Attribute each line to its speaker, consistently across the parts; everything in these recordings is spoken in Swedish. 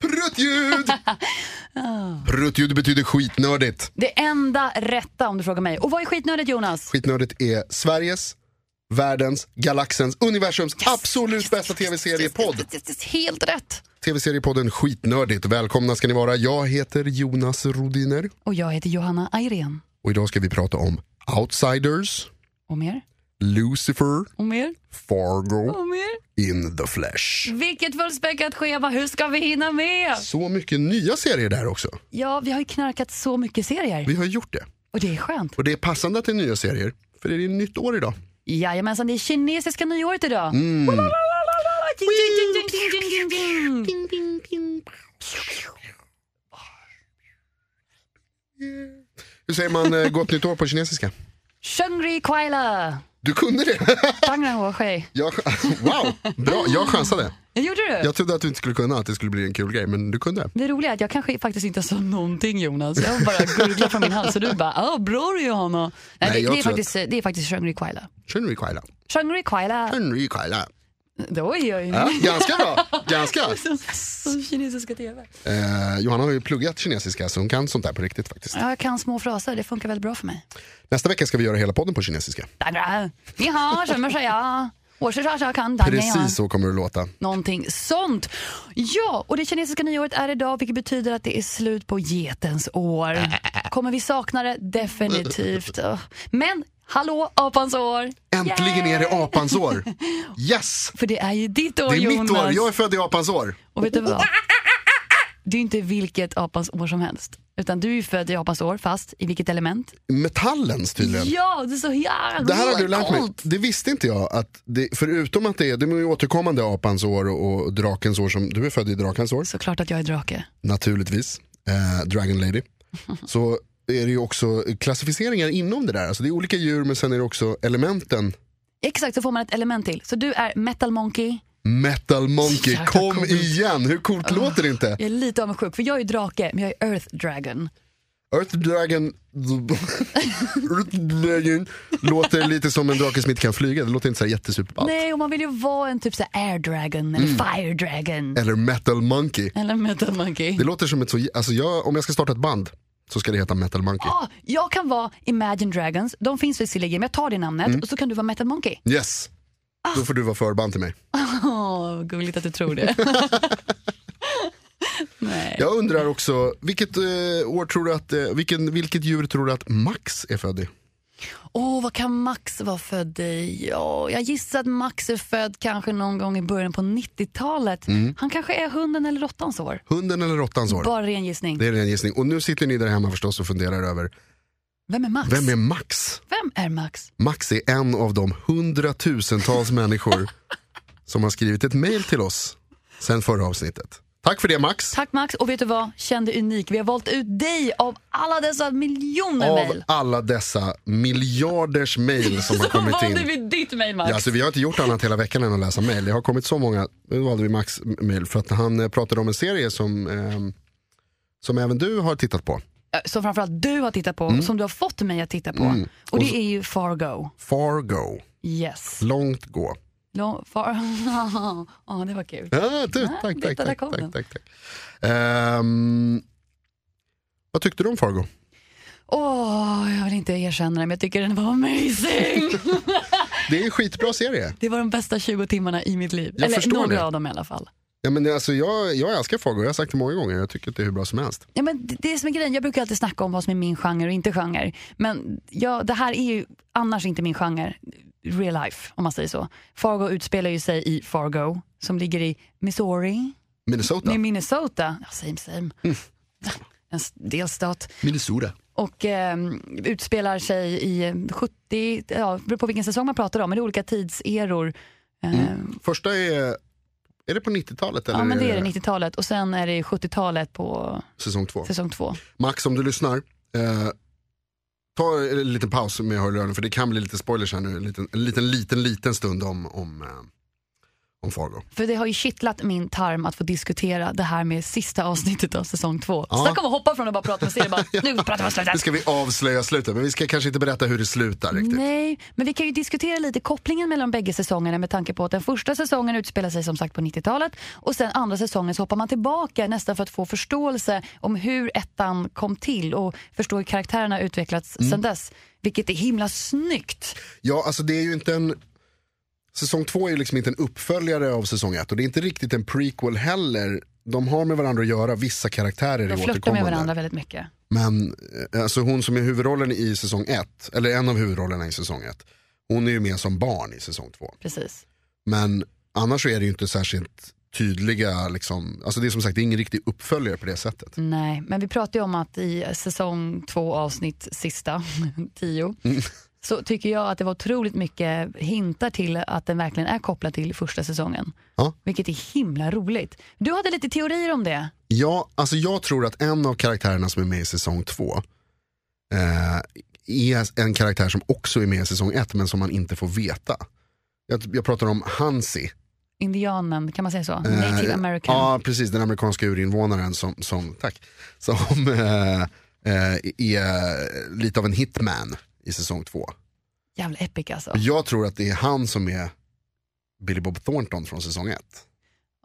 Speaker 1: Pruttljud! Pruttljud betyder skitnördigt.
Speaker 2: Det enda rätta om du frågar mig. Och vad är skitnödigt Jonas?
Speaker 1: Skitnördigt är Sveriges, världens, galaxens, universums absolut bästa tv-seriepodd.
Speaker 2: Helt rätt.
Speaker 1: Tv-seriepodden Skitnördigt. Välkomna ska ni vara. Jag heter Jonas Rodiner
Speaker 2: Och jag heter Johanna Ayrén.
Speaker 1: och idag ska vi prata om Outsiders,
Speaker 2: Och mer?
Speaker 1: Lucifer,
Speaker 2: Och mer?
Speaker 1: Fargo,
Speaker 2: Och mer?
Speaker 1: In the Flesh.
Speaker 2: Vilket fullspäckat schema, hur ska vi hinna med?
Speaker 1: Så mycket nya serier där också.
Speaker 2: Ja, vi har ju knarkat så mycket serier.
Speaker 1: Vi har gjort det.
Speaker 2: Och det är skönt.
Speaker 1: Och det är passande att det är nya serier, för det är nytt år idag.
Speaker 2: Jajamensan, det är kinesiska nyåret idag.
Speaker 1: Mm. Hur säger man eh, gott nytt år på kinesiska?
Speaker 2: Shengri Kwaila!
Speaker 1: Du kunde det!
Speaker 2: Bangrang Woshi.
Speaker 1: Jag, wow, bra. Jag chansade.
Speaker 2: Gjorde du?
Speaker 1: Jag trodde att du inte skulle kunna, att det skulle bli en kul grej, men du kunde.
Speaker 2: Det roliga är att jag kanske faktiskt inte sa någonting Jonas. Jag bara gurglade från min hals och du bara ah, “bra du Johanna”. Nej,
Speaker 1: Nej,
Speaker 2: det,
Speaker 1: jag
Speaker 2: det, är
Speaker 1: tror
Speaker 2: faktiskt, det är faktiskt Shangri Kwaila.
Speaker 1: Shunri Kwaila.
Speaker 2: Shangri Kwaila.
Speaker 1: Shunri Kwaila.
Speaker 2: Oj, oj.
Speaker 1: Ja, ganska bra. Ganska.
Speaker 2: Som, som kinesiska tv.
Speaker 1: Eh, Johanna har ju pluggat kinesiska, så hon kan sånt där på riktigt faktiskt.
Speaker 2: Ja, Jag kan små fraser, det funkar väldigt bra för mig.
Speaker 1: Nästa vecka ska vi göra hela podden på kinesiska.
Speaker 2: Ni har som jag säger. Jag kan Daniel.
Speaker 1: Precis så kommer det låta.
Speaker 2: Någonting sånt. Ja, och det kinesiska nyåret är idag vilket betyder att det är slut på getens år. Kommer vi sakna det? Definitivt. Ugh. Men hallå, apans år!
Speaker 1: Äntligen är det apans år. Yes!
Speaker 2: För det är ju ditt år
Speaker 1: Det är mitt
Speaker 2: Jonas.
Speaker 1: år. Jag är född i apans år.
Speaker 2: Och vet du vad? Det är inte vilket apans år som helst. Utan du är ju född i apans år, fast i vilket element?
Speaker 1: Metallens tydligen.
Speaker 2: Ja, det är så jävla
Speaker 1: Det här har du lärt mig.
Speaker 2: coolt.
Speaker 1: Det visste inte jag. Att det, förutom att det är, det är ju återkommande apans år och, och drakens år som du är född i drakens år.
Speaker 2: Såklart att jag är drake.
Speaker 1: naturligtvis, eh, Dragon Lady, så är det ju också klassificeringar inom det där. Alltså det är olika djur men sen är det också elementen.
Speaker 2: Exakt, så får man ett element till. Så du är metal monkey.
Speaker 1: Metal Monkey,
Speaker 2: Jäkla
Speaker 1: kom
Speaker 2: coolt.
Speaker 1: igen! Hur coolt
Speaker 2: Ah.
Speaker 1: låter det inte?
Speaker 2: Jag är lite avundsjuk, för jag är ju drake, men jag är earth dragon.
Speaker 1: Earth Dragon, Earth Dragon låter lite som en drake som inte kan flyga. Det låter inte så här jättesuperballt.
Speaker 2: Nej, och man vill ju vara en typ så här air dragon
Speaker 1: Mm.
Speaker 2: eller fire dragon.
Speaker 1: Eller Metal Monkey.
Speaker 2: Eller metal monkey.
Speaker 1: Eh. Det låter som ett så... Alltså jag, om jag ska starta ett band så ska det heta Metal Monkey.
Speaker 2: Ah, jag kan vara Imagine Dragons, de finns visserligen, men jag tar det namnet
Speaker 1: Mm.
Speaker 2: och så kan du vara metal monkey.
Speaker 1: Yes! Då får du vara förband till mig.
Speaker 2: Åh, vad gulligt att du tror det. Nej.
Speaker 1: Jag undrar också, vilket, eh, år tror du att, eh, vilken, vilket djur tror du att Max är född i?
Speaker 2: Åh, vad kan Max vara född i? Ja, jag gissar att Max är född kanske någon gång i början på 90-talet.
Speaker 1: Mm.
Speaker 2: Han kanske är hunden eller råttans år.
Speaker 1: Hunden eller råttans år?
Speaker 2: Bara ren gissning.
Speaker 1: Det är en gissning. Och nu sitter ni där hemma förstås och funderar över,
Speaker 2: Vem är Max?
Speaker 1: vem är Max?
Speaker 2: Vem är Max?
Speaker 1: Max är en av de hundratusentals människor som har skrivit ett mejl till oss sen förra avsnittet. Tack för det Max!
Speaker 2: Tack Max, och vet du vad? Känn dig unik. Vi har valt ut dig av alla dessa miljoner
Speaker 1: Av
Speaker 2: mejl.
Speaker 1: alla dessa miljarders mejl som har
Speaker 2: Så
Speaker 1: kommit
Speaker 2: valde
Speaker 1: in.
Speaker 2: vi ditt mejl Max.
Speaker 1: Ja, alltså, vi har inte gjort annat hela veckan än att läsa mejl. Det har kommit så många. Nu valde vi Max mejl för att han eh, pratade om en serie som, ehm, som även du har tittat på.
Speaker 2: Som framförallt du har tittat på,
Speaker 1: Mm.
Speaker 2: som du har fått mig att titta på. Och det är ju Fargo.
Speaker 1: Fargo.
Speaker 2: Yes.
Speaker 1: Långt gå.
Speaker 2: Lo- far... Ja, det var kul.
Speaker 1: Ja, du, tack,
Speaker 2: titta,
Speaker 1: tack,
Speaker 2: där
Speaker 1: tack,
Speaker 2: kom
Speaker 1: tack,
Speaker 2: den.
Speaker 1: tack, tack. Ehm, Vad tyckte du om Fargo?
Speaker 2: Åh, jag vill inte erkänna det, men jag tycker den var amazing.
Speaker 1: Det är en skitbra serie.
Speaker 2: Det var de bästa 20 timmarna i mitt liv.
Speaker 1: Jag
Speaker 2: Eller
Speaker 1: förstår
Speaker 2: några
Speaker 1: det.
Speaker 2: av dem i alla fall.
Speaker 1: Ja, men det- alltså, jag, jag älskar Fargo, jag har sagt det många gånger. Jag tycker att det är hur bra som helst.
Speaker 2: Ja, men det- det är som är grejen, jag brukar alltid snacka om vad som är min genre och inte genre. Men ja, det här är ju annars inte min genre, real life om man säger så. Fargo utspelar ju sig i Fargo, som ligger i Missouri,
Speaker 1: Minnesota.
Speaker 2: i Minnesota. Ja, same same.
Speaker 1: Mm.
Speaker 2: En s- delstat.
Speaker 1: Minnesota.
Speaker 2: och eh, utspelar sig i eh, 70, ja, beror på vilken säsong man pratar om, men det är olika tidseror. Eh,
Speaker 1: Första är, är det på 90-talet eller
Speaker 2: ja, men det är det, 90-talet och sen är det 70-talet på
Speaker 1: säsong två?
Speaker 2: säsong två.
Speaker 1: Max, om du lyssnar, eh, ta en liten paus med hörlurarna för det kan bli lite spoilers här nu. En liten, en liten, liten, liten stund om, om, eh, om Fargo.
Speaker 2: För det har ju kittlat min tarm att få diskutera det här med sista avsnittet av säsong två.
Speaker 1: Ja.
Speaker 2: Så där kommer hoppa från att bara prata med serier bara, nu pratar vi om
Speaker 1: Nu
Speaker 2: slutet.
Speaker 1: ska vi avslöja slutet, men vi ska kanske inte berätta hur det slutar riktigt.
Speaker 2: Nej, men vi kan ju diskutera lite kopplingen mellan bägge säsongerna med tanke på att den första säsongen utspelar sig som sagt på 90-talet och sen andra säsongen så hoppar man tillbaka nästan för att få förståelse om hur ettan kom till och förstå hur karaktärerna utvecklats sedan dess. Vilket är himla snyggt.
Speaker 1: Ja, alltså det är ju inte en... Säsong två är ju liksom inte en uppföljare av säsong ett och det är inte riktigt en prequel heller. De har med varandra att göra, vissa karaktärer
Speaker 2: De
Speaker 1: är
Speaker 2: flörtar med
Speaker 1: återkommande.
Speaker 2: varandra väldigt mycket.
Speaker 1: Men eh, alltså hon som är huvudrollen i säsong ett, eller en av huvudrollerna i säsong ett, hon är ju med som barn i säsong två.
Speaker 2: Precis.
Speaker 1: Men annars så är det ju inte särskilt tydliga, liksom, alltså det är som sagt det är ingen riktig uppföljare på det sättet.
Speaker 2: Nej, men vi pratade ju om att i säsong två avsnitt sista, tio,
Speaker 1: Mm.
Speaker 2: så tycker jag att det var otroligt mycket hintar till att den verkligen är kopplad till första säsongen.
Speaker 1: Ja.
Speaker 2: Vilket är himla roligt. Du hade lite teorier om det.
Speaker 1: Ja, alltså jag tror att en av karaktärerna som är med i säsong två eh, är en karaktär som också är med i säsong ett men som man inte får veta. Jag, jag pratar om Hansi.
Speaker 2: Indianen, kan man säga så?
Speaker 1: Eh,
Speaker 2: Native American.
Speaker 1: Ja, precis. Den amerikanska urinvånaren som, som, tack, som eh, eh, är lite av en hitman i säsong två.
Speaker 2: Jävla epic alltså.
Speaker 1: Jag tror att det är han som är Billy Bob Thornton från säsong ett.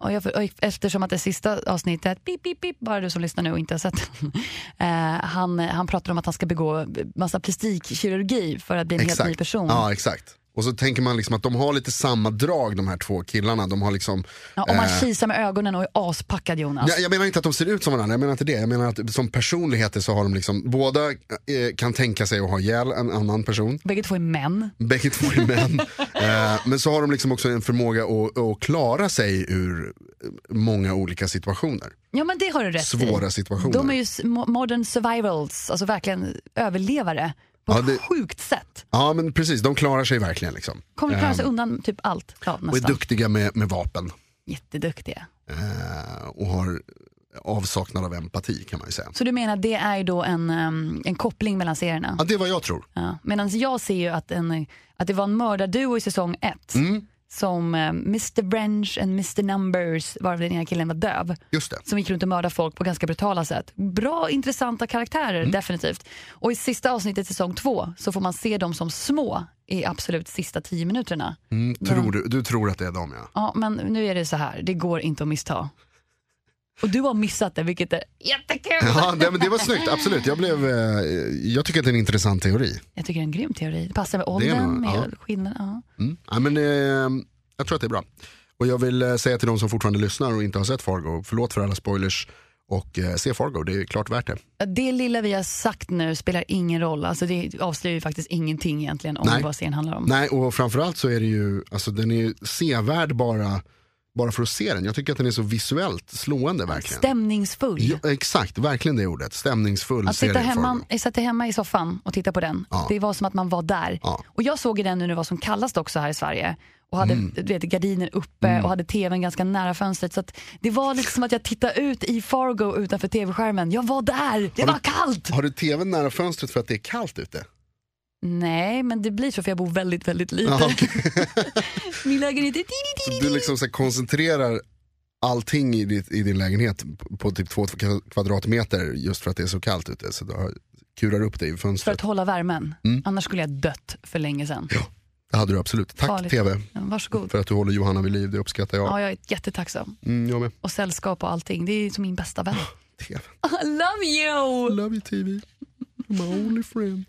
Speaker 2: Och jag, och eftersom att det sista avsnittet, pip, pip, pip, bara du som lyssnar nu och inte har sett den. Eh, han, han pratar om att han ska begå massa plastikkirurgi för att bli en helt ny person.
Speaker 1: Ja, exakt. Och så tänker man liksom att de har lite samma drag de här två killarna. De har liksom,
Speaker 2: Ja, om man
Speaker 1: eh,
Speaker 2: kisar med ögonen och är aspackad Jonas.
Speaker 1: jag, jag menar inte att de ser ut som varandra, jag menar inte det. Jag menar att som personligheter så har de liksom, båda eh, kan tänka sig att ha ihjäl en annan person.
Speaker 2: Bägge två är män.
Speaker 1: Bägge två är män. eh, men så har de liksom också en förmåga att, att klara sig ur många olika situationer.
Speaker 2: Ja men det har du rätt
Speaker 1: Svåra
Speaker 2: i.
Speaker 1: situationer.
Speaker 2: De är ju s- mo- modern survivals, alltså verkligen överlevare på
Speaker 1: Ja,
Speaker 2: ett
Speaker 1: det-
Speaker 2: sjukt sätt.
Speaker 1: Ja men precis, de klarar sig verkligen. Liksom.
Speaker 2: Kommer att klara sig undan typ allt. Ja,
Speaker 1: Och är
Speaker 2: nästan.
Speaker 1: duktiga med, med vapen.
Speaker 2: Jätteduktiga.
Speaker 1: Eh, och har avsaknad av empati kan man ju säga.
Speaker 2: Så du menar det är ju då en, ehm, en koppling mellan serierna?
Speaker 1: Ja, det är vad jag tror.
Speaker 2: Ja. Medan jag ser ju att, en, att det var en mördarduo i säsong ett
Speaker 1: Mm.
Speaker 2: som eh, Mr Branch and Mr Numbers, varav den ena killen var döv.
Speaker 1: Just det.
Speaker 2: som gick runt och mördade folk på ganska brutala sätt. Bra, intressanta karaktärer,
Speaker 1: Mm.
Speaker 2: definitivt. Och i sista avsnittet säsong två så får man se dem som små i absolut sista tio minuterna.
Speaker 1: Mm, tror du, du tror att det är dem ja.
Speaker 2: Ja, men nu är det så här, det går inte att missta. Och du har missat det, vilket är jättekul!
Speaker 1: Ja, det, men det var snyggt, absolut. Jag, blev, eh, jag tycker att det är en intressant teori.
Speaker 2: Jag tycker det är en grym teori. Det passar med
Speaker 1: Det är
Speaker 2: åldern,
Speaker 1: nog-
Speaker 2: med
Speaker 1: ja.
Speaker 2: skillnaden. Ja.
Speaker 1: Mm. Ja, men, eh, jag tror att det är bra. Och jag vill eh, säga till de som fortfarande lyssnar och inte har sett Fargo, förlåt för alla spoilers och eh, se Fargo, det är klart värt det.
Speaker 2: Det lilla vi har sagt nu spelar ingen roll. Alltså det avslöjar ju faktiskt ingenting egentligen om
Speaker 1: Nej.
Speaker 2: vad serien handlar om.
Speaker 1: Nej, och framförallt så är det ju, alltså den är ju sevärd bara, bara för att se den. Jag tycker att den är så visuellt slående verkligen.
Speaker 2: Stämningsfull.
Speaker 1: Ja, exakt, verkligen det ordet. Stämningsfull
Speaker 2: Att sitta
Speaker 1: serie
Speaker 2: hemma,
Speaker 1: Fargo.
Speaker 2: jag satt hemma i soffan och titta på den.
Speaker 1: Ja.
Speaker 2: Det var som att man var där.
Speaker 1: Ja.
Speaker 2: Och jag såg ju den nu när det var som kallast också här i Sverige. Och hade
Speaker 1: Mm.
Speaker 2: du vet, gardiner uppe och hade tvn ganska nära fönstret. Så att det var lite som att jag tittade ut i Fargo utanför tv-skärmen. Jag var där! Det
Speaker 1: Har du-
Speaker 2: var kallt!
Speaker 1: Har du tvn nära fönstret för att det är kallt ute?
Speaker 2: Nej, men det blir så för jag bor väldigt, väldigt lite.
Speaker 1: Ja, okej.
Speaker 2: Min lägenhet är...
Speaker 1: Så du liksom så här koncentrerar allting i, ditt, i din lägenhet på typ två kvadratmeter just för att det är så kallt ute. Så du har- kurar upp det i
Speaker 2: För att
Speaker 1: fönstret.
Speaker 2: hålla värmen.
Speaker 1: Mm.
Speaker 2: Annars skulle jag dött för länge sedan.
Speaker 1: Det hade du absolut. Tack
Speaker 2: Farligt.
Speaker 1: tv
Speaker 2: Ja, Varsågod.
Speaker 1: för att du håller Johanna vid liv, det uppskattar jag.
Speaker 2: Ja, jag är jättetacksam.
Speaker 1: Mm, jag med.
Speaker 2: Och sällskap och allting. Det är som min bästa vän.
Speaker 1: TV.
Speaker 2: I love you!
Speaker 1: Love you tv, my only friend.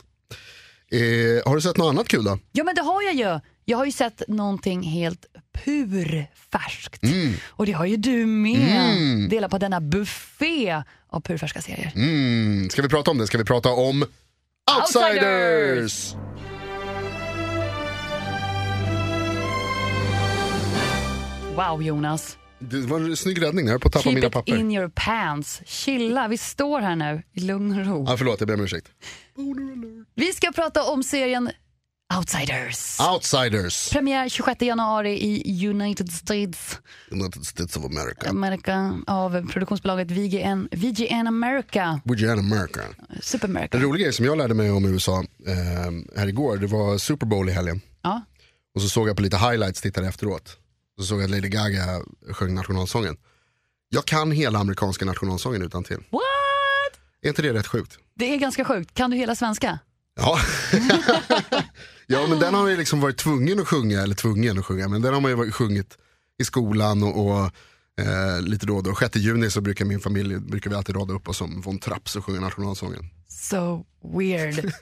Speaker 1: Eh, har du sett något annat kul då?
Speaker 2: Ja men det har jag ju. Jag har ju sett någonting helt purfärskt.
Speaker 1: Mm.
Speaker 2: Och det har ju du med. Dela på denna buffé av purfärska serier.
Speaker 1: Mm, ska vi prata om det? Ska vi prata om Outsiders?
Speaker 2: Outsiders! Wow Jonas.
Speaker 1: Det var en snygg räddning, jag höll på att tappa
Speaker 2: Keep
Speaker 1: mina
Speaker 2: it
Speaker 1: papper.
Speaker 2: in your pants. Chilla, vi står här nu i lugn och ro.
Speaker 1: Ja, förlåt, jag ber om ursäkt.
Speaker 2: Vi ska prata om serien Outsiders.
Speaker 1: Outsiders,
Speaker 2: Premiär 26 januari i United States.
Speaker 1: United States of America.
Speaker 2: America av produktionsbolaget VGN, VGN America.
Speaker 1: Virgin America.
Speaker 2: Super
Speaker 1: En
Speaker 2: America.
Speaker 1: rolig grej som jag lärde mig om USA ehm, eh, här igår, det var Super Bowl i helgen.
Speaker 2: Ja.
Speaker 1: Och så såg jag på lite highlights, tittade efteråt. Så såg jag att Lady Gaga sjöng nationalsången. Jag kan hela amerikanska nationalsången utan till.
Speaker 2: What?
Speaker 1: Är inte det rätt sjukt?
Speaker 2: Det är ganska sjukt. Kan du hela svenska?
Speaker 1: Ja. ja men den har man ju liksom varit tvungen att sjunga, eller tvungen att sjunga, men den har man ju varit- sjungit i skolan och, och eh, lite då och då. 6 juni så brukar min familj, brukar vi alltid rada upp oss som von Trapp och sjunga nationalsången.
Speaker 2: So weird. Ew.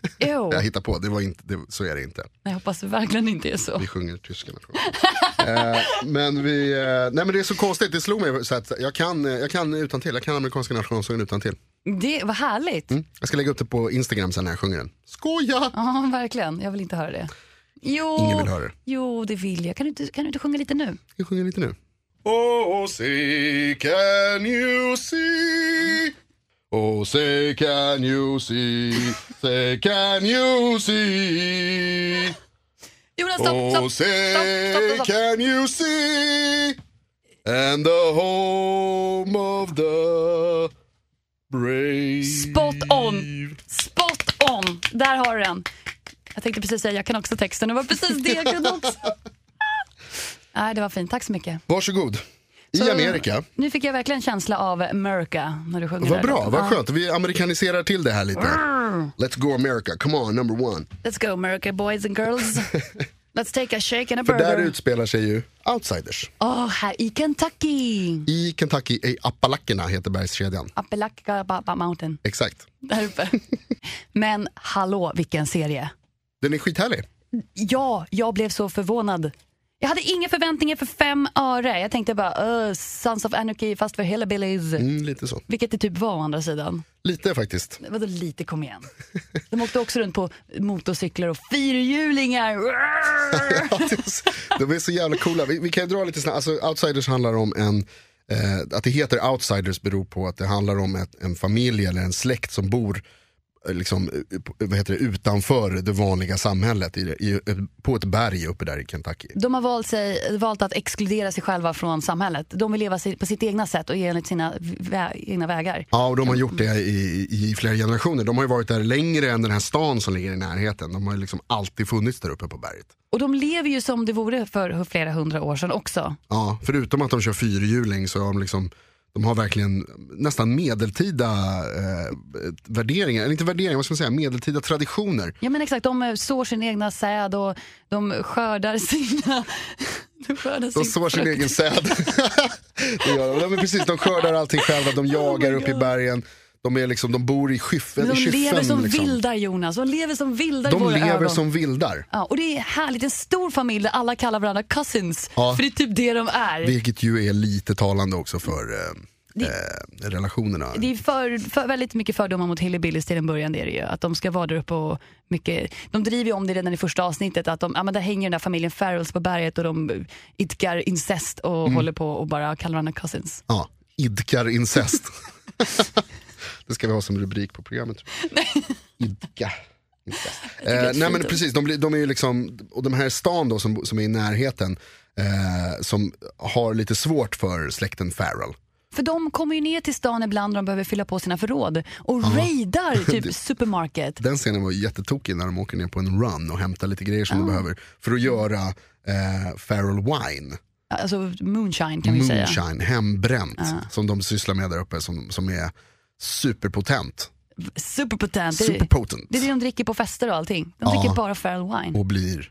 Speaker 1: Jag hittar på, det var inte, det, så är det inte.
Speaker 2: Jag hoppas det verkligen inte är så.
Speaker 1: Vi sjunger tyska nationalsången. eh, men, vi, eh, nej, men det är så konstigt, det slog mig så att jag kan, eh, jag kan utan till, jag kan amerikanska nationalsången utan till.
Speaker 2: Det var härligt.
Speaker 1: Mm. Jag ska lägga upp det på Instagram sen när jag sjunger den. Skoja!
Speaker 2: Ja, verkligen. Jag vill inte höra det. Jo,
Speaker 1: Ingen vill höra det.
Speaker 2: jo det vill jag. Kan du, inte- kan du inte sjunga lite nu?
Speaker 1: Jag sjunger lite nu. Oh say can you see Oh say can you see Say can you see
Speaker 2: Jonas, stopp,
Speaker 1: Oh
Speaker 2: stopp, stopp,
Speaker 1: say
Speaker 2: stopp, stopp.
Speaker 1: can you see And the home of the brave
Speaker 2: Spot on. Spot on. Där har du den. Jag tänkte precis säga, jag kan också texten. Det var precis det jag kunde också. Nej, det var fint. Tack så mycket.
Speaker 1: Varsågod. I
Speaker 2: Så-
Speaker 1: Amerika.
Speaker 2: Nu fick jag verkligen känsla av America när du sjunger
Speaker 1: Vad
Speaker 2: där.
Speaker 1: bra,
Speaker 2: Ja.
Speaker 1: vad skönt. Vi amerikaniserar till det här lite.
Speaker 2: Mm.
Speaker 1: Let's go America, come on number one.
Speaker 2: Let's go America boys and girls. Let's take a shake and a
Speaker 1: För där
Speaker 2: burger.
Speaker 1: utspelar sig ju Outsiders.
Speaker 2: Åh, här i Kentucky.
Speaker 1: I Kentucky, i Appalacherna heter bergskedjan.
Speaker 2: Appalachia Mountain.
Speaker 1: Exakt.
Speaker 2: Där uppe. Men hallå, vilken serie.
Speaker 1: Den är skithärlig.
Speaker 2: Ja, jag blev så förvånad. Jag hade inga förväntningar för fem öre. Jag tänkte bara, uh, Sons of Anarchy fast för Hillbillies.
Speaker 1: Mm, lite så.
Speaker 2: Vilket det typ var å andra sidan.
Speaker 1: Lite faktiskt.
Speaker 2: Vadå lite, kom igen. De åkte också runt på motorcyklar och fyrhjulingar.
Speaker 1: De är så jävla coola. Vi, vi kan ju dra lite snabbt. Alltså, outsiders handlar om en... Eh, att det heter outsiders beror på att det handlar om ett, en familj eller en släkt som bor eh, liksom, eh, på- vad heter det, utanför det vanliga samhället. I, det- i, på ett berg uppe där i Kentucky.
Speaker 2: De har valt, sig, valt att exkludera sig själva från samhället. De vill leva si- på sitt egna sätt och enligt sina vä- egna vägar.
Speaker 1: Ja, och de har gjort det i, i flera generationer. De har ju varit där längre än den här stan som ligger i närheten. De har ju liksom alltid funnits där uppe på berget.
Speaker 2: Och de lever ju som det vore för flera hundra år sedan också.
Speaker 1: Ja, förutom att de kör fyrhjuling så har de liksom de har verkligen nästan medeltida eh, värderingar, eller inte värderingar, vad ska man säga, medeltida traditioner.
Speaker 2: Ja men exakt, de eh, sår sin egna säd och de skördar sina... De, skördar
Speaker 1: De
Speaker 2: sin
Speaker 1: sår sin
Speaker 2: frukt.
Speaker 1: egen säd. det gör de. Ja, men precis, de skördar allting själva,
Speaker 2: Oh
Speaker 1: de jagar upp i bergen, de, är liksom, de bor i skyffen.
Speaker 2: Men
Speaker 1: i
Speaker 2: De
Speaker 1: skyffen,
Speaker 2: lever som
Speaker 1: liksom.
Speaker 2: vildar Jonas, de lever som vildar i
Speaker 1: De
Speaker 2: våra
Speaker 1: lever
Speaker 2: ögon.
Speaker 1: som vildar,
Speaker 2: Ja, och det är härligt, en stor familj där alla kallar varandra cousins.
Speaker 1: Ja.
Speaker 2: För det är typ det de är.
Speaker 1: vilket ju är lite talande också för eh, eh, relationerna.
Speaker 2: Det är för, för, väldigt mycket fördomar mot hillbillies till en början. Det är det ju. Att de ska vara där uppe och mycket... De driver ju om det redan i första avsnittet. Att de, ja, men där hänger den där familjen Farrells på berget och de idkar incest och
Speaker 1: Mm.
Speaker 2: håller på och bara kallar varandra cousins.
Speaker 1: Ja, idkar incest. det ska vi ha som rubrik på programmet. Idka. incest.
Speaker 2: det är
Speaker 1: Eh, nej men
Speaker 2: fint.
Speaker 1: precis, de, blir, de är ju liksom, och den här stan då som, som är i närheten, eh, som har lite svårt för släkten Farrell.
Speaker 2: För de kommer ju ner till stan ibland när de behöver fylla på sina förråd och raidar typ supermarket.
Speaker 1: Den scenen var ju jättetokig när de åker ner på en run och hämtar lite grejer
Speaker 2: Ah.
Speaker 1: som de behöver för att göra eh, Farrell Wine,
Speaker 2: Alltså moonshine kan vi säga.
Speaker 1: moonshine, hembränt, som de sysslar med där uppe som, som är superpotent,
Speaker 2: Superpotent. Det är,
Speaker 1: superpotent
Speaker 2: det är det de dricker på fester och allting. De
Speaker 1: Ja.
Speaker 2: dricker bara Farrell wine.
Speaker 1: och blir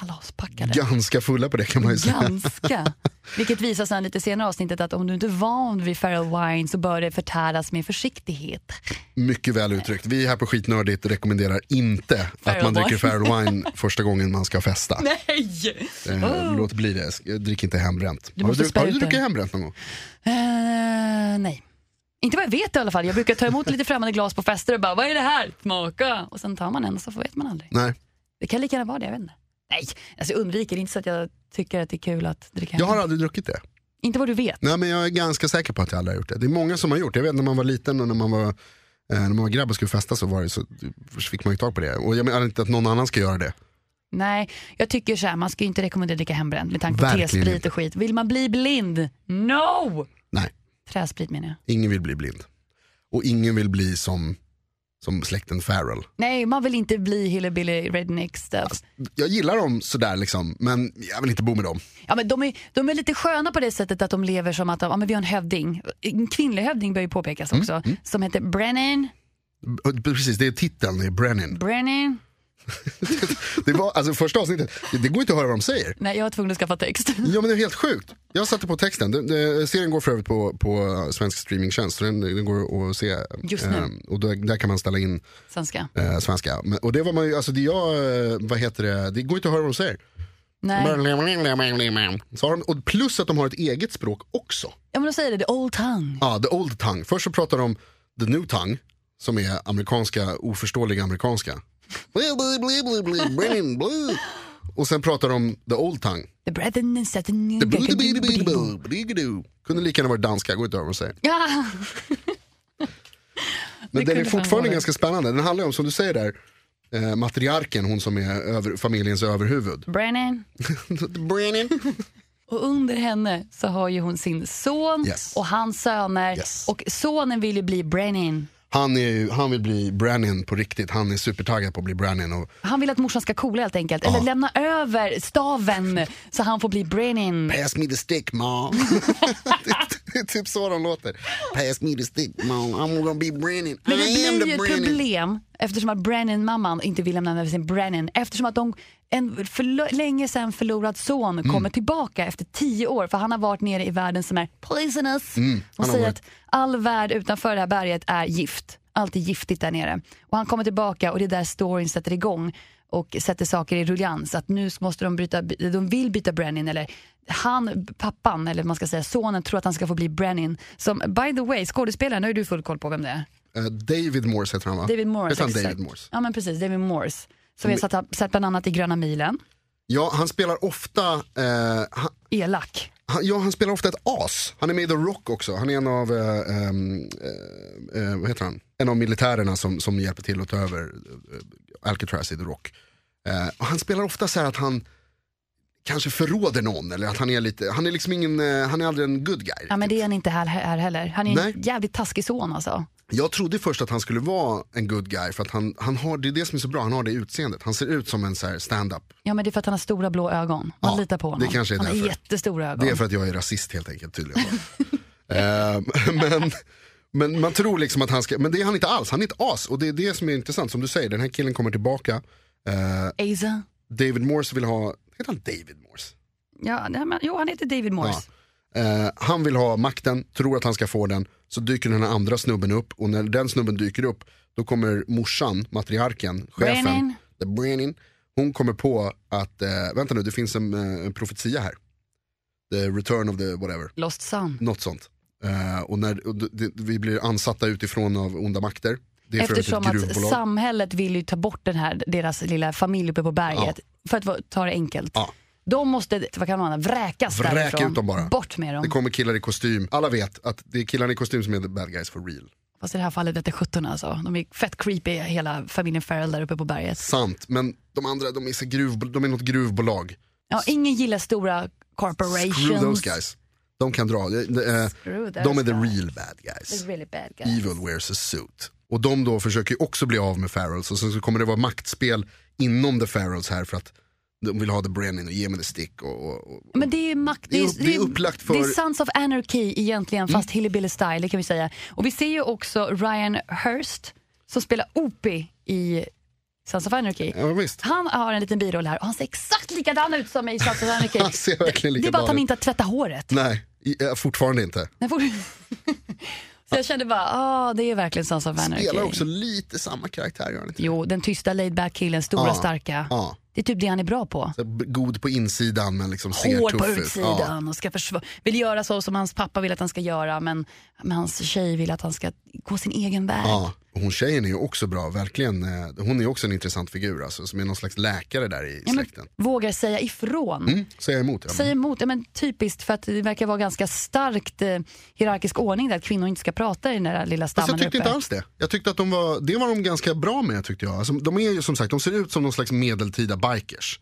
Speaker 2: Kalaspackade.
Speaker 1: ganska fulla på det kan man ju säga.
Speaker 2: Ganska. Vilket visar sen lite senare i avsnittet att om du inte är van vid Feral Wine så bör det förtäras med försiktighet.
Speaker 1: Mycket väl uttryckt. Vi här på Skitnördigt rekommenderar inte att
Speaker 2: Feral
Speaker 1: man dricker
Speaker 2: wine.
Speaker 1: Feral Wine första gången man ska festa.
Speaker 2: Nej!
Speaker 1: Eh, Låt bli det, Sk- drick inte hembränt. har,
Speaker 2: måste
Speaker 1: du,
Speaker 2: spä
Speaker 1: har du
Speaker 2: ut det.
Speaker 1: druckit hembränt någon gång?
Speaker 2: Eh, nej. Inte vad jag vet i alla fall. Jag brukar ta emot lite främmande glas på fester och bara vad är det här? Smaka! Och sen tar man en och så vet man aldrig.
Speaker 1: Nej.
Speaker 2: Det kan lika gärna vara det, jag vet inte. Nej, alltså jag undviker det är inte så att jag tycker att det är kul att dricka
Speaker 1: Jag har
Speaker 2: hembränt.
Speaker 1: aldrig druckit det.
Speaker 2: Inte vad du vet.
Speaker 1: Nej, men jag är ganska säker på att jag aldrig har gjort det. Det är många som har gjort det. Jag vet när man var liten och när man var, eh, när man var grabb och skulle festa så, var det, så fick man ju tag på det. Och jag menar inte att någon annan ska göra det.
Speaker 2: Nej, jag tycker så här, man ska ju inte rekommendera att dricka hembränt med tanke på
Speaker 1: Verkligen
Speaker 2: T-sprit
Speaker 1: inte.
Speaker 2: och skit. Vill man bli blind? No!
Speaker 1: Nej,
Speaker 2: Träsprit menar jag.
Speaker 1: ingen vill bli blind. Och ingen vill bli som Som släkten Farrell.
Speaker 2: Nej, man vill inte bli hillbilly redneck stuff.
Speaker 1: Jag gillar dem sådär liksom, men jag vill inte bo med dem.
Speaker 2: Ja, men de, är, de är lite sköna på det sättet att de lever som att de, ja, men vi har en hövding. En kvinnlig hövding bör ju påpekas
Speaker 1: Mm,
Speaker 2: också. Som heter Brennan.
Speaker 1: B- Precis, det är titeln, det är Brennan.
Speaker 2: Brennan.
Speaker 1: Det var, alltså första avsnittet, det, det går inte att höra vad de säger.
Speaker 2: Nej, jag var tvungen att skaffa text.
Speaker 1: Ja men det är helt sjukt. Jag satte på texten. Den, den, serien går för övrigt på, på svensk streamingtjänst. så Den, den går att se.
Speaker 2: Just nu.
Speaker 1: Ehm, och där, där kan man ställa in
Speaker 2: Svenska.
Speaker 1: eh, svenska. Men, och det var man ju, alltså det jag, eh, vad heter det, det går inte att höra vad de säger.
Speaker 2: Nej.
Speaker 1: Så har de, och plus att de har ett eget språk också.
Speaker 2: Ja, men de säger det, the old tongue.
Speaker 1: Ja, the old tongue. Först så pratar de om the new tongue, som är amerikanska, oförståelig amerikanska. Bli, bli, bli, bli, bli, bli, bli. Och sen pratar de om the old tongue.
Speaker 2: The brethren and
Speaker 1: The bli, bli, bli, bli, bli, bli, bli. Kunde lika gärna varit danska, går inte över och säger.
Speaker 2: Ja,
Speaker 1: Men
Speaker 2: Det
Speaker 1: den är
Speaker 2: kunde fan
Speaker 1: fortfarande
Speaker 2: vara det.
Speaker 1: ganska spännande. Den handlar ju om, som du säger där, eh, matriarken, hon som är över, familjens överhuvud.
Speaker 2: Brennan.
Speaker 1: Brennan.
Speaker 2: Och under henne så har ju hon sin son
Speaker 1: Yes.
Speaker 2: och hans söner.
Speaker 1: Yes.
Speaker 2: Och sonen vill ju bli Brennan.
Speaker 1: Han, är ju, han vill bli Brannin på riktigt, han är supertaggad på att bli Brannin. Och
Speaker 2: Han vill att morsan ska coola helt enkelt. Eller lämna över staven så han får bli Brennan.
Speaker 1: Pass me the stick ma. det är typ så de låter. Pass me the stick ma, I'm gonna be Brannin.
Speaker 2: Men det
Speaker 1: I am
Speaker 2: blir ju
Speaker 1: the
Speaker 2: ett
Speaker 1: Brannin.
Speaker 2: problem eftersom att Brennan-mamman inte vill lämna över sin Brennan. Eftersom att de, en för lo- länge sedan förlorad son kommer tillbaka efter tio år. För han har varit nere i världen som är poisonous. och
Speaker 1: har
Speaker 2: säger
Speaker 1: varit-
Speaker 2: att all värld utanför det här berget är gift. Allt är giftigt där nere. Och han kommer tillbaka och det är där storyn sätter igång och sätter saker i ruljans. Att nu måste de byta, de vill byta Brennan eller han, pappan, eller vad man ska säga, sonen tror att han ska få bli Brennan. Som, by the way, skådespelaren, nu har ju du full koll på vem det är.
Speaker 1: Eh, David Morse heter han va?
Speaker 2: David Morse.
Speaker 1: Heter han
Speaker 2: exakt.
Speaker 1: David Mm. Morse?
Speaker 2: Ja, men precis. David Morse. Som vi har satt, sett bland annat i Gröna milen.
Speaker 1: Ja, han spelar ofta, eh, han,
Speaker 2: Elak.
Speaker 1: han, ja, han spelar ofta ett as. Han är med i The Rock också. Han är en av, eh, ehm, eh, eh, vad heter han? En av militärerna som, som hjälper till att ta över eh, Alcatraz i The Rock. Eh, och han spelar ofta så här att han kanske förråder någon eller att han är lite, han är liksom ingen, eh, han är aldrig en good guy.
Speaker 2: Ja, men det är han inte här, här heller. Han är
Speaker 1: Nej.
Speaker 2: en jävligt taskig son alltså.
Speaker 1: Jag trodde först att han skulle vara en good guy för att han, han har, det är det som är så bra, han har det utseendet. Han ser ut som en så här stand-up.
Speaker 2: Ja, men det är för att han har stora blå ögon. Man
Speaker 1: Ja,
Speaker 2: litar på honom.
Speaker 1: det kanske är
Speaker 2: han har
Speaker 1: därför.
Speaker 2: jättestora ögon.
Speaker 1: Det är för att jag är rasist helt enkelt tydligen. Ehm, men, men man tror liksom att han ska, men det är han inte alls, han är ett as. Och det är det som är intressant, som du säger, den här killen kommer tillbaka. Eh,
Speaker 2: Asa.
Speaker 1: David Morse vill ha, heter han David Morse?
Speaker 2: Ja, det här med, jo, han heter David Morse.
Speaker 1: Eh, han vill ha makten, tror att han ska få den. Så dyker den här andra snubben upp och när den snubben dyker upp då kommer morsan, matriarken, chefen,
Speaker 2: Brennan.
Speaker 1: The Brennan, hon kommer på att, eh, vänta nu det finns en, eh, en profetia här. The return of the whatever.
Speaker 2: Lost son.
Speaker 1: Något sånt. Eh, och när och d- d- vi blir ansatta utifrån av onda makter. Det är för övrigt
Speaker 2: Eftersom
Speaker 1: ett
Speaker 2: att
Speaker 1: gruvbolag.
Speaker 2: samhället vill ju ta bort den här, deras lilla familj uppe på berget. För att va- ta det enkelt.
Speaker 1: Ja.
Speaker 2: De måste, vad kan man vräkas
Speaker 1: Vräka
Speaker 2: därifrån.
Speaker 1: ut dem bara.
Speaker 2: Bort med dem.
Speaker 1: Det kommer killar i kostym. Alla vet att det är killarna i kostym som är the bad guys for real.
Speaker 2: Fast i det här fallet vete 17 alltså. De är fett creepy hela familjen Farrell där uppe på berget.
Speaker 1: Sant, men de andra de är, så gruv, de är något gruvbolag.
Speaker 2: Ja, ingen gillar stora corporations.
Speaker 1: Screw those guys. De kan dra. De, de, eh,
Speaker 2: Screw those
Speaker 1: de är the
Speaker 2: guys.
Speaker 1: real bad guys.
Speaker 2: The really bad guys.
Speaker 1: Evil wears a suit. Och de då försöker ju också bli av med Farrells och sen så kommer det vara maktspel inom the Farrells här för att de vill ha the Brennan och ge mig the stick. Och, och, och.
Speaker 2: Men det är ju makt.
Speaker 1: Det är upp- det är upplagt för- Mm.
Speaker 2: Det är Sons of Anarchy egentligen, fast hillbilly style, det kan vi säga. Och vi ser ju också Ryan Hurst som spelar Opie i Sons of Anarchy.
Speaker 1: Ja, visst.
Speaker 2: Han har en liten biroll här och han ser exakt likadan ut som i Sons of Anarchy.
Speaker 1: Han ser verkligen
Speaker 2: det är bara att
Speaker 1: likadan Mm.
Speaker 2: han
Speaker 1: ut.
Speaker 2: inte har tvättat håret.
Speaker 1: Nej, i- eh, fortfarande inte.
Speaker 2: Nej, får- Så jag kände bara, ah, det är verkligen Sons of Anarchy.
Speaker 1: Spelar också lite samma karaktär gör han inte?
Speaker 2: Jo, den tysta laid back killen, stora
Speaker 1: Ja,
Speaker 2: starka.
Speaker 1: ja.
Speaker 2: Det är typ det han är bra på.
Speaker 1: Så b- God på insidan men liksom ser
Speaker 2: Hård
Speaker 1: tuff
Speaker 2: på
Speaker 1: ut. Ja.
Speaker 2: utsidan och ska försvara. Vill göra så som hans pappa vill att han ska göra men, men hans tjej vill att han ska gå sin egen väg.
Speaker 1: Ja. Och Hon tjejen är ju också bra, verkligen. eh, Hon är också en intressant figur alltså, som är någon slags läkare där i
Speaker 2: Ja, men,
Speaker 1: släkten.
Speaker 2: vågar säga ifrån.
Speaker 1: Mm, säger jag emot. Ja.
Speaker 2: Säg emot, ja, men typiskt för att det verkar vara ganska starkt eh, hierarkisk ordning där att kvinnor inte ska prata i den där lilla
Speaker 1: Fast
Speaker 2: stammen
Speaker 1: jag tyckte
Speaker 2: där uppe.
Speaker 1: inte alls det. Jag tyckte att de var, det var de ganska bra med tyckte jag. Alltså, de är ju som sagt, de ser ut som någon slags medeltida bikers.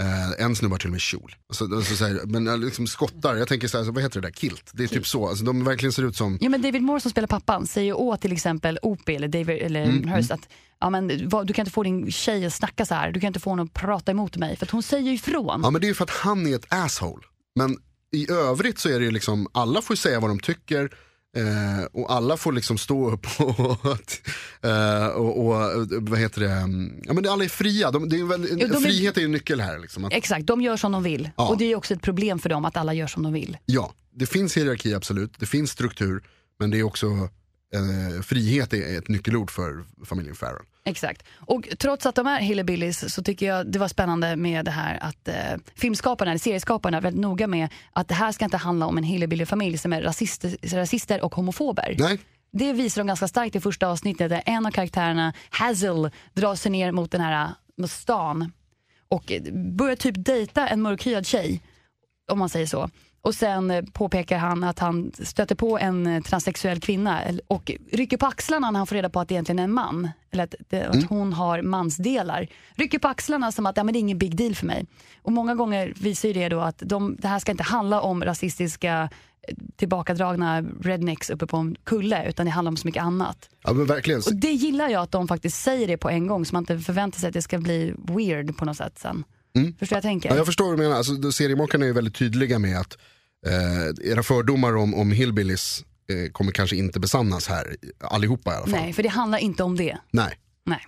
Speaker 1: Eh, en snubbe har till och med kjol. Alltså, alltså, så här, men eh, liksom skottar, jag tänker så här, så, vad heter det där, kilt? Det är typ så, alltså, de verkligen ser ut som
Speaker 2: Ja, men David Moore som spelar pappan säger åt till exempel Opie eller, David, eller
Speaker 1: Mm,
Speaker 2: Hurst att ja, men, vad, du kan inte få din tjej att snacka så här. Du kan inte få henne att prata emot mig. För att hon säger ju ifrån.
Speaker 1: Ja men det är ju för att han är ett asshole. Men i övrigt så är det ju liksom, alla får säga vad de tycker eh, och alla får liksom stå upp och, eh, och, och vad heter det, Mm, ja men alla är fria. De, det är ju väl,
Speaker 2: Jo, de är-
Speaker 1: frihet är ju en nyckel här liksom. Att,
Speaker 2: Exakt, de gör som de vill.
Speaker 1: Ja.
Speaker 2: Och det är ju också ett problem för dem att alla gör som de vill.
Speaker 1: ja, det finns hierarki absolut, det finns struktur, men det är också eh, frihet är ett nyckelord för familjen Farrell.
Speaker 2: Exakt. Och trots att de är hillbillies så tycker jag det var spännande med det här att eh, filmskaparna, eller serieskaparna, är väldigt noga med att det här ska inte handla om en hillbillyfamilj som är rasister, rasister och homofober.
Speaker 1: Nej,
Speaker 2: Det visar de ganska starkt i första avsnittet där en av karaktärerna, Hazel, drar sig ner mot den här eh, mot stan och eh, börjar typ dejta en mörkhyad tjej, om man säger så. Och sen eh, påpekar han att han stöter på en eh, transsexuell kvinna el- och rycker på axlarna när han får reda på att det egentligen är en man. Eller att, det,
Speaker 1: Mm.
Speaker 2: att hon har mansdelar. Rycker på axlarna som att ja, men det är ingen big deal för mig. Och många gånger visar ju det då att de, det här ska inte handla om rasistiska eh, tillbakadragna rednecks uppe på en kulle utan det handlar om så mycket annat.
Speaker 1: ja, men verkligen.
Speaker 2: Och det gillar jag att de faktiskt säger det på en gång så man inte förväntar sig att det ska bli weird på något sätt sen. Förstår jag tänker?
Speaker 1: Mm. Ja, jag förstår vad du menar. Alltså, då- seriemakarna är ju väldigt tydliga med att eh, era fördomar om, om hillbillies eh, kommer kanske inte besannas här, allihopa i alla fall. Nej.
Speaker 2: Nej, för det handlar inte om det. Nej.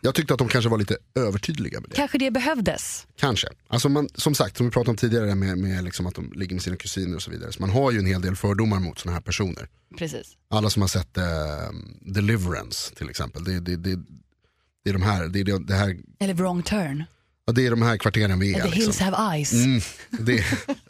Speaker 1: Jag tyckte att de kanske var lite övertydliga med det.
Speaker 2: Kanske det behövdes.
Speaker 1: Kanske. Alltså man, som sagt, som vi pratade om tidigare med, med liksom att de ligger med sina kusiner och så vidare. Så man har ju en hel del fördomar mot sådana här personer.
Speaker 2: Precis.
Speaker 1: Alla som har sett eh, Deliverance till exempel. Det, det, det, det är de här, det, är det, det här,
Speaker 2: Eller wrong turn.
Speaker 1: ja, det är de här kvarteren vi är.
Speaker 2: The
Speaker 1: liksom.
Speaker 2: hills have eyes.
Speaker 1: Mm, det,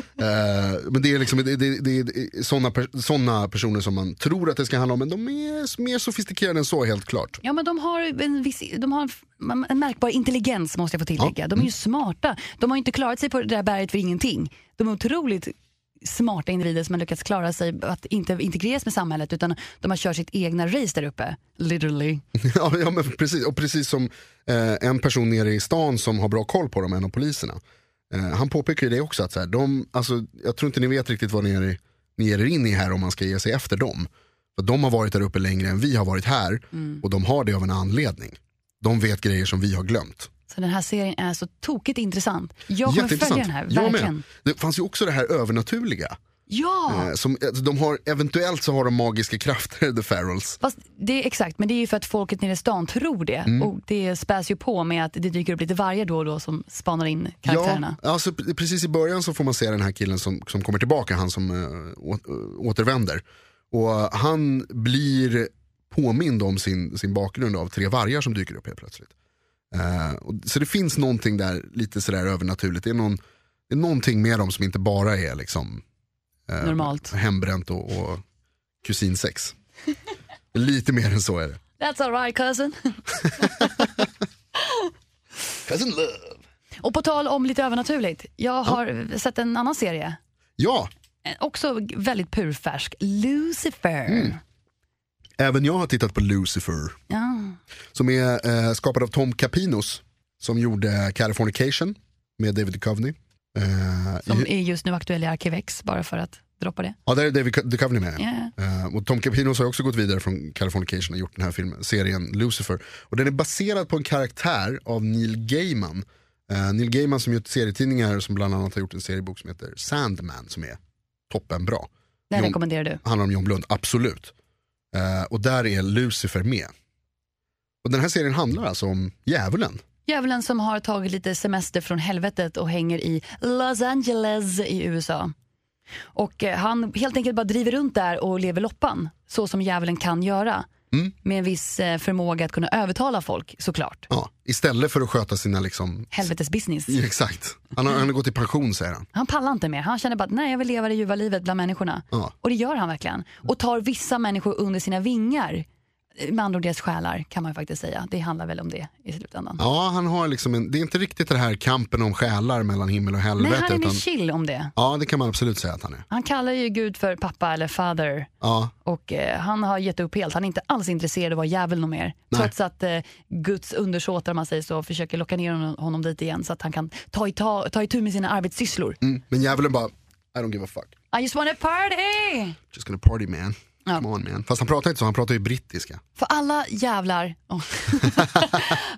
Speaker 1: Eh, men det är liksom det, det, det är sådana per, såna personer som man tror att det ska handla om, men de är s- mer sofistikerade än så helt klart.
Speaker 2: Ja, men de har, en viss, de har en- en märkbar intelligens måste jag få tillägga. De är
Speaker 1: Mm.
Speaker 2: ju smarta. De har ju inte klarat sig på det där berget för ingenting. De är otroligt smarta individer som har lyckats klara sig att inte integreras med samhället utan de har kört sitt egna race där uppe. Literally.
Speaker 1: ja, ja, men precis, och precis som eh, en person nere i stan som har bra koll på dem, en av poliserna. Eh, han påpekar ju det också, att så här, de, alltså, jag tror inte ni vet riktigt vad ni är, ni ger er in i här om man ska ge sig efter dem. För de har varit där uppe längre än vi har varit här
Speaker 2: Mm.
Speaker 1: och de har det av en anledning. De vet grejer som vi har glömt.
Speaker 2: Så den här serien är så tokigt intressant. Jag kommer följa den här,
Speaker 1: Jag
Speaker 2: verkligen.
Speaker 1: med. Det fanns ju också det här övernaturliga.
Speaker 2: Ja!
Speaker 1: Eh, Som, eh, de har, eventuellt så har de magiska krafter, The Ferals.
Speaker 2: Fast det är exakt, men det är ju för att folket nere i stan tror det.
Speaker 1: Mm.
Speaker 2: Och det späs ju på med att det dyker upp lite vargar då och då som spanar in karaktärerna.
Speaker 1: Ja, alltså, pre- precis i början så får man se den här killen som, som kommer tillbaka, han som eh, å, å- återvänder. Och eh, han blir påmind om sin, sin bakgrund av tre vargar som dyker upp helt plötsligt. Eh, och, så det finns någonting där lite sådär övernaturligt. Det är, någon, det är någonting med dem som inte bara är liksom eh,
Speaker 2: Normalt.
Speaker 1: hembränt och, och kusinsex. lite mer än så är det.
Speaker 2: That's alright cousin.
Speaker 1: Cousin love.
Speaker 2: Och på tal om lite övernaturligt. Jag har sett en annan serie.
Speaker 1: Ja,
Speaker 2: Eh, Också väldigt purfärsk. Lucifer.
Speaker 1: Mm. även jag har tittat på Lucifer.
Speaker 2: Ja.
Speaker 1: Som är eh, skapad av Tom Capinos. Som gjorde Californication med David Duchovny. Eh,
Speaker 2: Som
Speaker 1: i,
Speaker 2: är just nu aktuell i Arkivex, bara för att droppa det.
Speaker 1: ja, där är David Duchovny med.
Speaker 2: Ja, ja.
Speaker 1: Eh, och Tom Capinos har ju också gått vidare från Californication och gjort den här filmen, serien Lucifer. Och den är baserad på en karaktär av Neil Gaiman. Eh, Neil Gaiman som gjort serietidningar som bland annat har gjort en seriebok som heter Sandman som är toppenbra.
Speaker 2: Den
Speaker 1: Jo.
Speaker 2: rekommenderar du.
Speaker 1: handlar om John Blund, absolut. Eh, och där är Lucifer med. Och den här serien handlar alltså om djävulen.
Speaker 2: Djävulen som har tagit lite semester från helvetet och hänger i Los Angeles i USA. Och eh, han helt enkelt bara driver runt där och lever loppan, så som djävulen kan göra.
Speaker 1: Mm.
Speaker 2: Med en viss eh, förmåga att kunna övertala folk såklart.
Speaker 1: Ja, istället för att sköta sina liksom...
Speaker 2: Helvetes business.
Speaker 1: Ja, Exakt. Han har, han har gått i pension säger han.
Speaker 2: Han pallar inte mer. Han känner bara att nej, jag vill leva det ljuva livet bland människorna.
Speaker 1: Ja.
Speaker 2: Och det gör han verkligen. Och tar vissa människor under sina vingar. Eh, med andra ord deras själar kan man ju faktiskt säga. Det handlar väl om det i slutändan.
Speaker 1: Ja, han har liksom en, det är inte riktigt den här kampen om själar mellan himmel och
Speaker 2: Nej,
Speaker 1: helvete.
Speaker 2: han är mer
Speaker 1: utan,
Speaker 2: chill om det.
Speaker 1: ja, det kan man absolut säga att han är.
Speaker 2: Han kallar ju Gud för pappa eller father
Speaker 1: Ja,
Speaker 2: och eh, han har gett upp helt. Han är inte alls intresserad av att vara djävulen och mer. Trots att eh, Guds undersåtar, om man säger så, försöker locka ner honom, honom dit igen så att han kan ta i ta, ta itu med sina arbetssysslor.
Speaker 1: mm. Men djävulen bara, I don't give a fuck.
Speaker 2: I just wanna party!
Speaker 1: Just gonna party man.
Speaker 2: Ja.
Speaker 1: Come on man. Fast han pratar inte så, han pratar ju brittiska.
Speaker 2: För alla jävlar, Åh.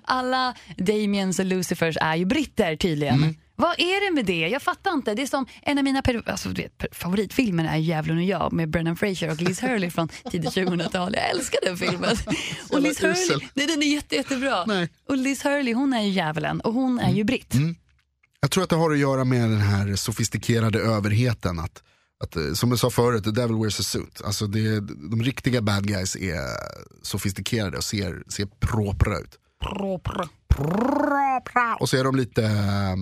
Speaker 2: alla Damiens och Lucifers är ju britter tydligen.
Speaker 1: Mm.
Speaker 2: Vad är det med det? Jag fattar inte. Det är som en av mina per- alltså, du vet, per- favoritfilmer är ju Djävulen och jag med Brennan Fraser och Liz Hurley från tidigt 2000-tal. Jag älskar den filmen. Och Liz
Speaker 1: jävla usel.
Speaker 2: Hurley, nej, den är jätte, jättebra.
Speaker 1: Nej. Mm.
Speaker 2: Och Liz Hurley hon är ju djävulen och hon är ju britt.
Speaker 1: Jag tror att det har att göra med den här sofistikerade överheten. Att, att, eh, som jag sa förut, the devil wears a suit. Alltså det, de riktiga bad guys är sofistikerade och ser, ser propra ut. Propra. Och så är de lite, eh,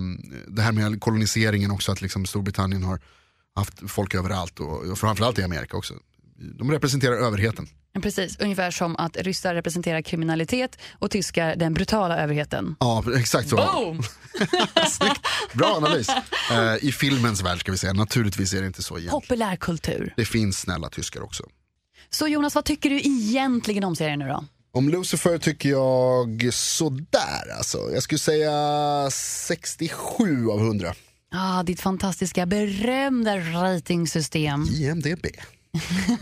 Speaker 1: det här med koloniseringen också, att liksom Storbritannien har haft folk överallt och, och framförallt i Amerika också. De representerar överheten.
Speaker 2: Precis, ungefär som att ryssar representerar kriminalitet och tyskar den brutala överheten.
Speaker 1: Ja, exakt så.
Speaker 2: Boom!
Speaker 1: Snyggt. Bra analys. Eh, I filmens värld ska vi säga, naturligtvis är det inte så igen.
Speaker 2: Populärkultur.
Speaker 1: Det finns snälla tyskar också.
Speaker 2: Så Jonas, vad tycker du egentligen om serien nu då?
Speaker 1: Om Lucifer tycker jag sådär alltså. Jag skulle säga 67 av 100.
Speaker 2: Ah, ditt fantastiska berömda ratingsystem.
Speaker 1: IMDB.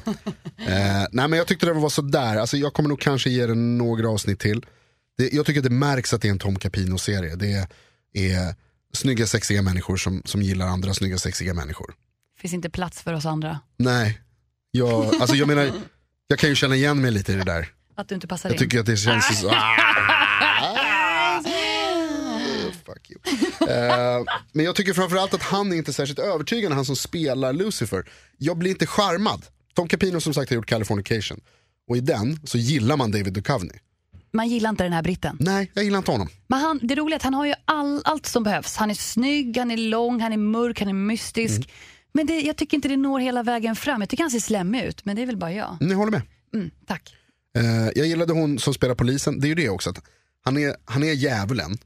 Speaker 1: eh, nej men jag tyckte den var sådär. Alltså, jag kommer nog kanske ge den några avsnitt till. Det, jag tycker att det märks att det är en Tom Capino-serie. Det är snygga sexiga människor som, som gillar andra snygga sexiga människor.
Speaker 2: Finns inte plats för oss andra.
Speaker 1: Nej, jag, alltså, jag menar, jag kan ju känna igen mig lite i det där.
Speaker 2: Att du inte passar
Speaker 1: Jag
Speaker 2: in.
Speaker 1: tycker att det känns så... Ah! Fuck you. Eh, men jag tycker framförallt att han är inte särskilt övertygande, han som spelar Lucifer. Jag blir inte charmad. Tom Capino som sagt har gjort Californication. Och i den så gillar man David Duchovny.
Speaker 2: Man gillar inte den här britten.
Speaker 1: Nej, jag gillar inte honom.
Speaker 2: Men han, det roliga är att han har ju all, allt som behövs. Han är snygg, han är lång, han är mörk, han är mystisk.
Speaker 1: Mm.
Speaker 2: Men det, jag tycker inte det når hela vägen fram. Jag tycker han ser slemmig ut, men det är väl bara jag.
Speaker 1: Ni håller med.
Speaker 2: Mm, tack.
Speaker 1: Eh, jag gillade hon som spelar polisen, det är ju det också. Att han, är, han är djävulen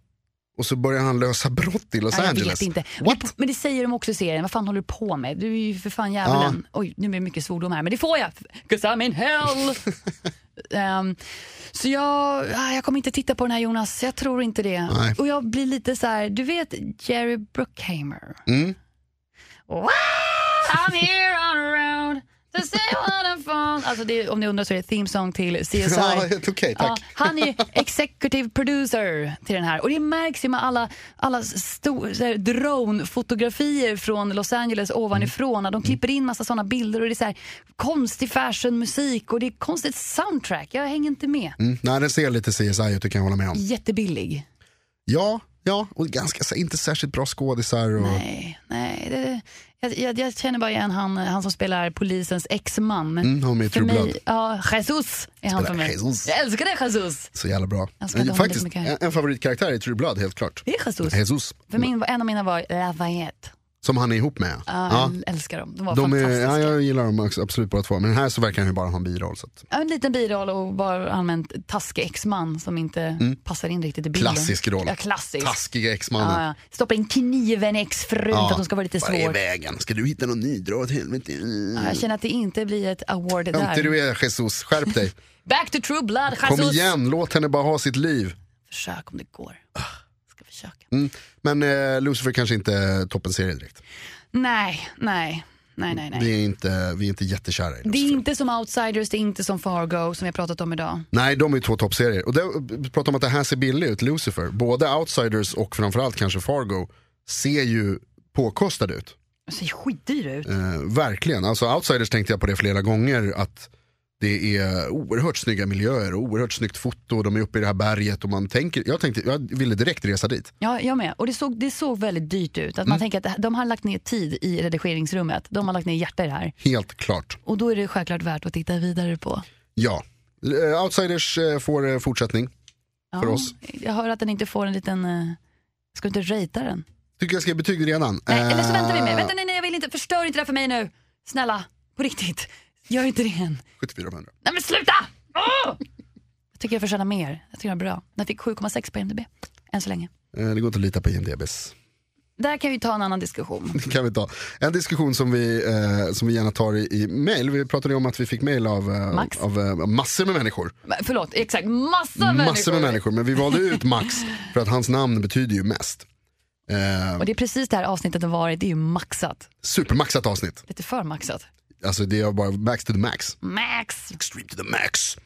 Speaker 1: och så börjar han lösa brott i Los
Speaker 2: Ja, jag
Speaker 1: Angeles.
Speaker 2: vet inte. Men,
Speaker 1: What?
Speaker 2: men det säger de också i serien. Vad fan håller du på med? Du är ju för fan djävulen. Oj, nu blir det mycket svordom här, men det får jag. 'Cause I'm in hell. Ehm, så jag, ah, jag kommer inte titta på den här Jonas. Jag tror inte det.
Speaker 1: Nej.
Speaker 2: Och jag blir lite så här, du vet Jerry Bruckheimer?
Speaker 1: Mm.
Speaker 2: Wow, I'm here on a road to see what I'm from. Alltså det, om ni undrar så är det theme song till CSI.
Speaker 1: Ja, Okej, tack.
Speaker 2: Ja, han är ju executive producer till den här. Och det märks ju med alla, alla stor- så här drone-fotografier från Los Angeles ovanifrån.
Speaker 1: Mm.
Speaker 2: När De klipper in massa sådana bilder och det är så här konstig fashion-musik och det är konstigt soundtrack. Jag hänger inte med.
Speaker 1: Mm, nej, den ser lite CSI ut, det kan jag hålla med om.
Speaker 2: Jättebillig.
Speaker 1: Ja, ja och ganska, så- inte särskilt bra skådisar. Och,
Speaker 2: Nej, nej. Det, jag, jag, jag känner bara igen han, han som spelar polisens ex-man.
Speaker 1: Mm, han var med i
Speaker 2: För
Speaker 1: True
Speaker 2: mig,
Speaker 1: Blood.
Speaker 2: ja, Jesus är han
Speaker 1: Spelar
Speaker 2: för mig.
Speaker 1: Jesus.
Speaker 2: Jag älskar det, Jesus.
Speaker 1: Så jävla bra.
Speaker 2: Jag ska inte
Speaker 1: Eh,
Speaker 2: ha honom
Speaker 1: Faktiskt,
Speaker 2: lika mycket.
Speaker 1: en, en favoritkaraktär i True Blood, helt klart.
Speaker 2: Det är Jesus.
Speaker 1: Jesus,
Speaker 2: För min, en av mina var Lafayette.
Speaker 1: som han är ihop med.
Speaker 2: Ja,
Speaker 1: Ja.
Speaker 2: Jag älskar dem. De var
Speaker 1: De är, ja,
Speaker 2: fantastiska.
Speaker 1: jag gillar dem också, absolut båda två, men den här så verkar han ju bara ha en biroll. Så att,
Speaker 2: Ja, En liten biroll och bara allmänt taskig ex-man som inte passar in riktigt i bilden.
Speaker 1: Mm. Klassisk roll.
Speaker 2: Ja, klassisk.
Speaker 1: taskiga
Speaker 2: Ja,
Speaker 1: exmannen.
Speaker 2: ja. Stoppa in kniven i exfrun för att hon ska vara lite
Speaker 1: Vad är
Speaker 2: svår.
Speaker 1: vägen? Ska du hitta någon ny? Dra åt helvete.
Speaker 2: Ja, Jag känner att det inte blir ett award
Speaker 1: Inte
Speaker 2: där.
Speaker 1: du är Jesus, skärp dig.
Speaker 2: Back to true blood,
Speaker 1: Kom
Speaker 2: Jesus.
Speaker 1: igen, låt henne bara ha sitt liv.
Speaker 2: Försök om det går. Ska försöka.
Speaker 1: Mm. Men eh, Lucifer kanske inte är toppenserie direkt.
Speaker 2: Nej, nej, nej, nej. nej.
Speaker 1: Vi är inte, vi är inte jättekära i
Speaker 2: Det är
Speaker 1: Lucifer.
Speaker 2: inte som Outsiders, det är inte som Fargo som vi har pratat om idag.
Speaker 1: Nej, de är ju två toppserier. Och det, vi pratar om att det här ser billigt ut, Lucifer. Både Outsiders och framförallt kanske Fargo ser ju påkostade ut.
Speaker 2: Det ser skitdyr ut.
Speaker 1: Eh, verkligen. Alltså Outsiders tänkte jag på det flera gånger att det är oerhört snygga miljöer och oerhört snyggt foto. De är uppe i det här berget och man tänker, jag, tänkte, jag ville direkt resa dit.
Speaker 2: Ja, jag med. Och det såg, det såg väldigt dyrt ut. Att
Speaker 1: Mm.
Speaker 2: Man tänker att det- de har lagt ner tid i redigeringsrummet. De har lagt ner hjärta i det här.
Speaker 1: Helt klart.
Speaker 2: Och då är det självklart värt att titta vidare på.
Speaker 1: Ja. Eh, Outsiders eh, får eh, fortsättning.
Speaker 2: Ja,
Speaker 1: För oss.
Speaker 2: Jag hör att den inte får en liten... eh, Ska du inte rata den?
Speaker 1: Tycker jag ska ge betyg redan.
Speaker 2: Nej, eller så väntar vi med.
Speaker 1: Eh,
Speaker 2: Vänta, nej, nej, jag vill inte. Förstör inte det här för mig nu. Snälla, på riktigt. Gör inte det än.
Speaker 1: 74 av 100.
Speaker 2: Nej men sluta! Åh! tycker jag förtjänar mer. Jag tycker den är bra. Den fick 7,6 på IMDB, än så länge.
Speaker 1: Eh, Det går inte att lita på IMDBs.
Speaker 2: Där kan vi ta en annan diskussion.
Speaker 1: Det kan vi ta. En diskussion som vi, eh, som vi gärna tar i, i mail. Vi pratade ju om att vi fick mail av, eh,
Speaker 2: Max.
Speaker 1: av eh, massor med människor.
Speaker 2: Men Förlåt, exakt. Massa,
Speaker 1: Massor med människor. Men vi valde ut Max för att hans namn betyder ju mest. Eh,
Speaker 2: Och det är precis det här avsnittet har varit. Det är ju maxat.
Speaker 1: supermaxat avsnitt.
Speaker 2: Lite för maxat.
Speaker 1: Alltså det är bara max to the max.
Speaker 2: Max!
Speaker 1: Extreme to the max.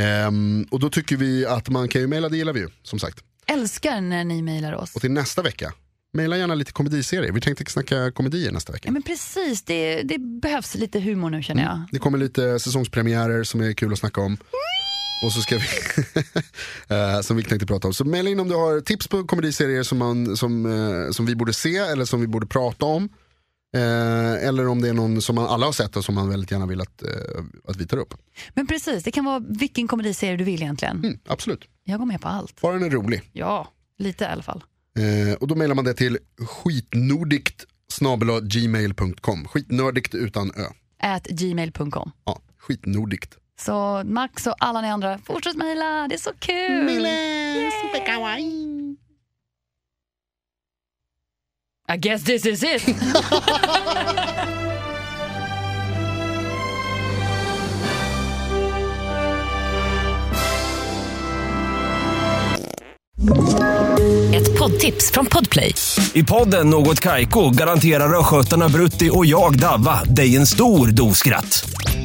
Speaker 1: Ehm, och då tycker vi att man kan ju mejla, det gillar vi ju som sagt.
Speaker 2: Älskar när ni mejlar oss.
Speaker 1: Och till nästa vecka, mejla gärna lite komediserier. Vi tänkte snacka komedier nästa vecka.
Speaker 2: Ja men precis, det, det behövs lite humor nu känner jag.
Speaker 1: Det kommer lite säsongspremiärer som är kul att snacka om. Och så ska vi, eh, som vi tänkte prata om. Så mejla in om du har tips på komediserier som, man, som, eh, som vi borde se eller som vi borde prata om. Eh, eller om det är någon som man alla har sett och som man väldigt gärna vill att, eh, att vi tar upp.
Speaker 2: Men precis, det kan vara vilken komediserie du vill egentligen.
Speaker 1: Mm, absolut,
Speaker 2: Jag går med på allt.
Speaker 1: bara den är rolig.
Speaker 2: Ja, lite i alla fall.
Speaker 1: Eh, och då mejlar man det till skitnordigt gmail.com. Skitnördigt utan ö.
Speaker 2: At gmail.com.
Speaker 1: Ja, skitnordigt.
Speaker 2: Så Max och alla ni andra, fortsätt mejla, det är så kul! I guess this is it!
Speaker 3: Ett poddtips från Podplay.
Speaker 4: I podden Något Kaiko garanterar östgötarna Brutti och jag, Davva, dig en stor dos skratt.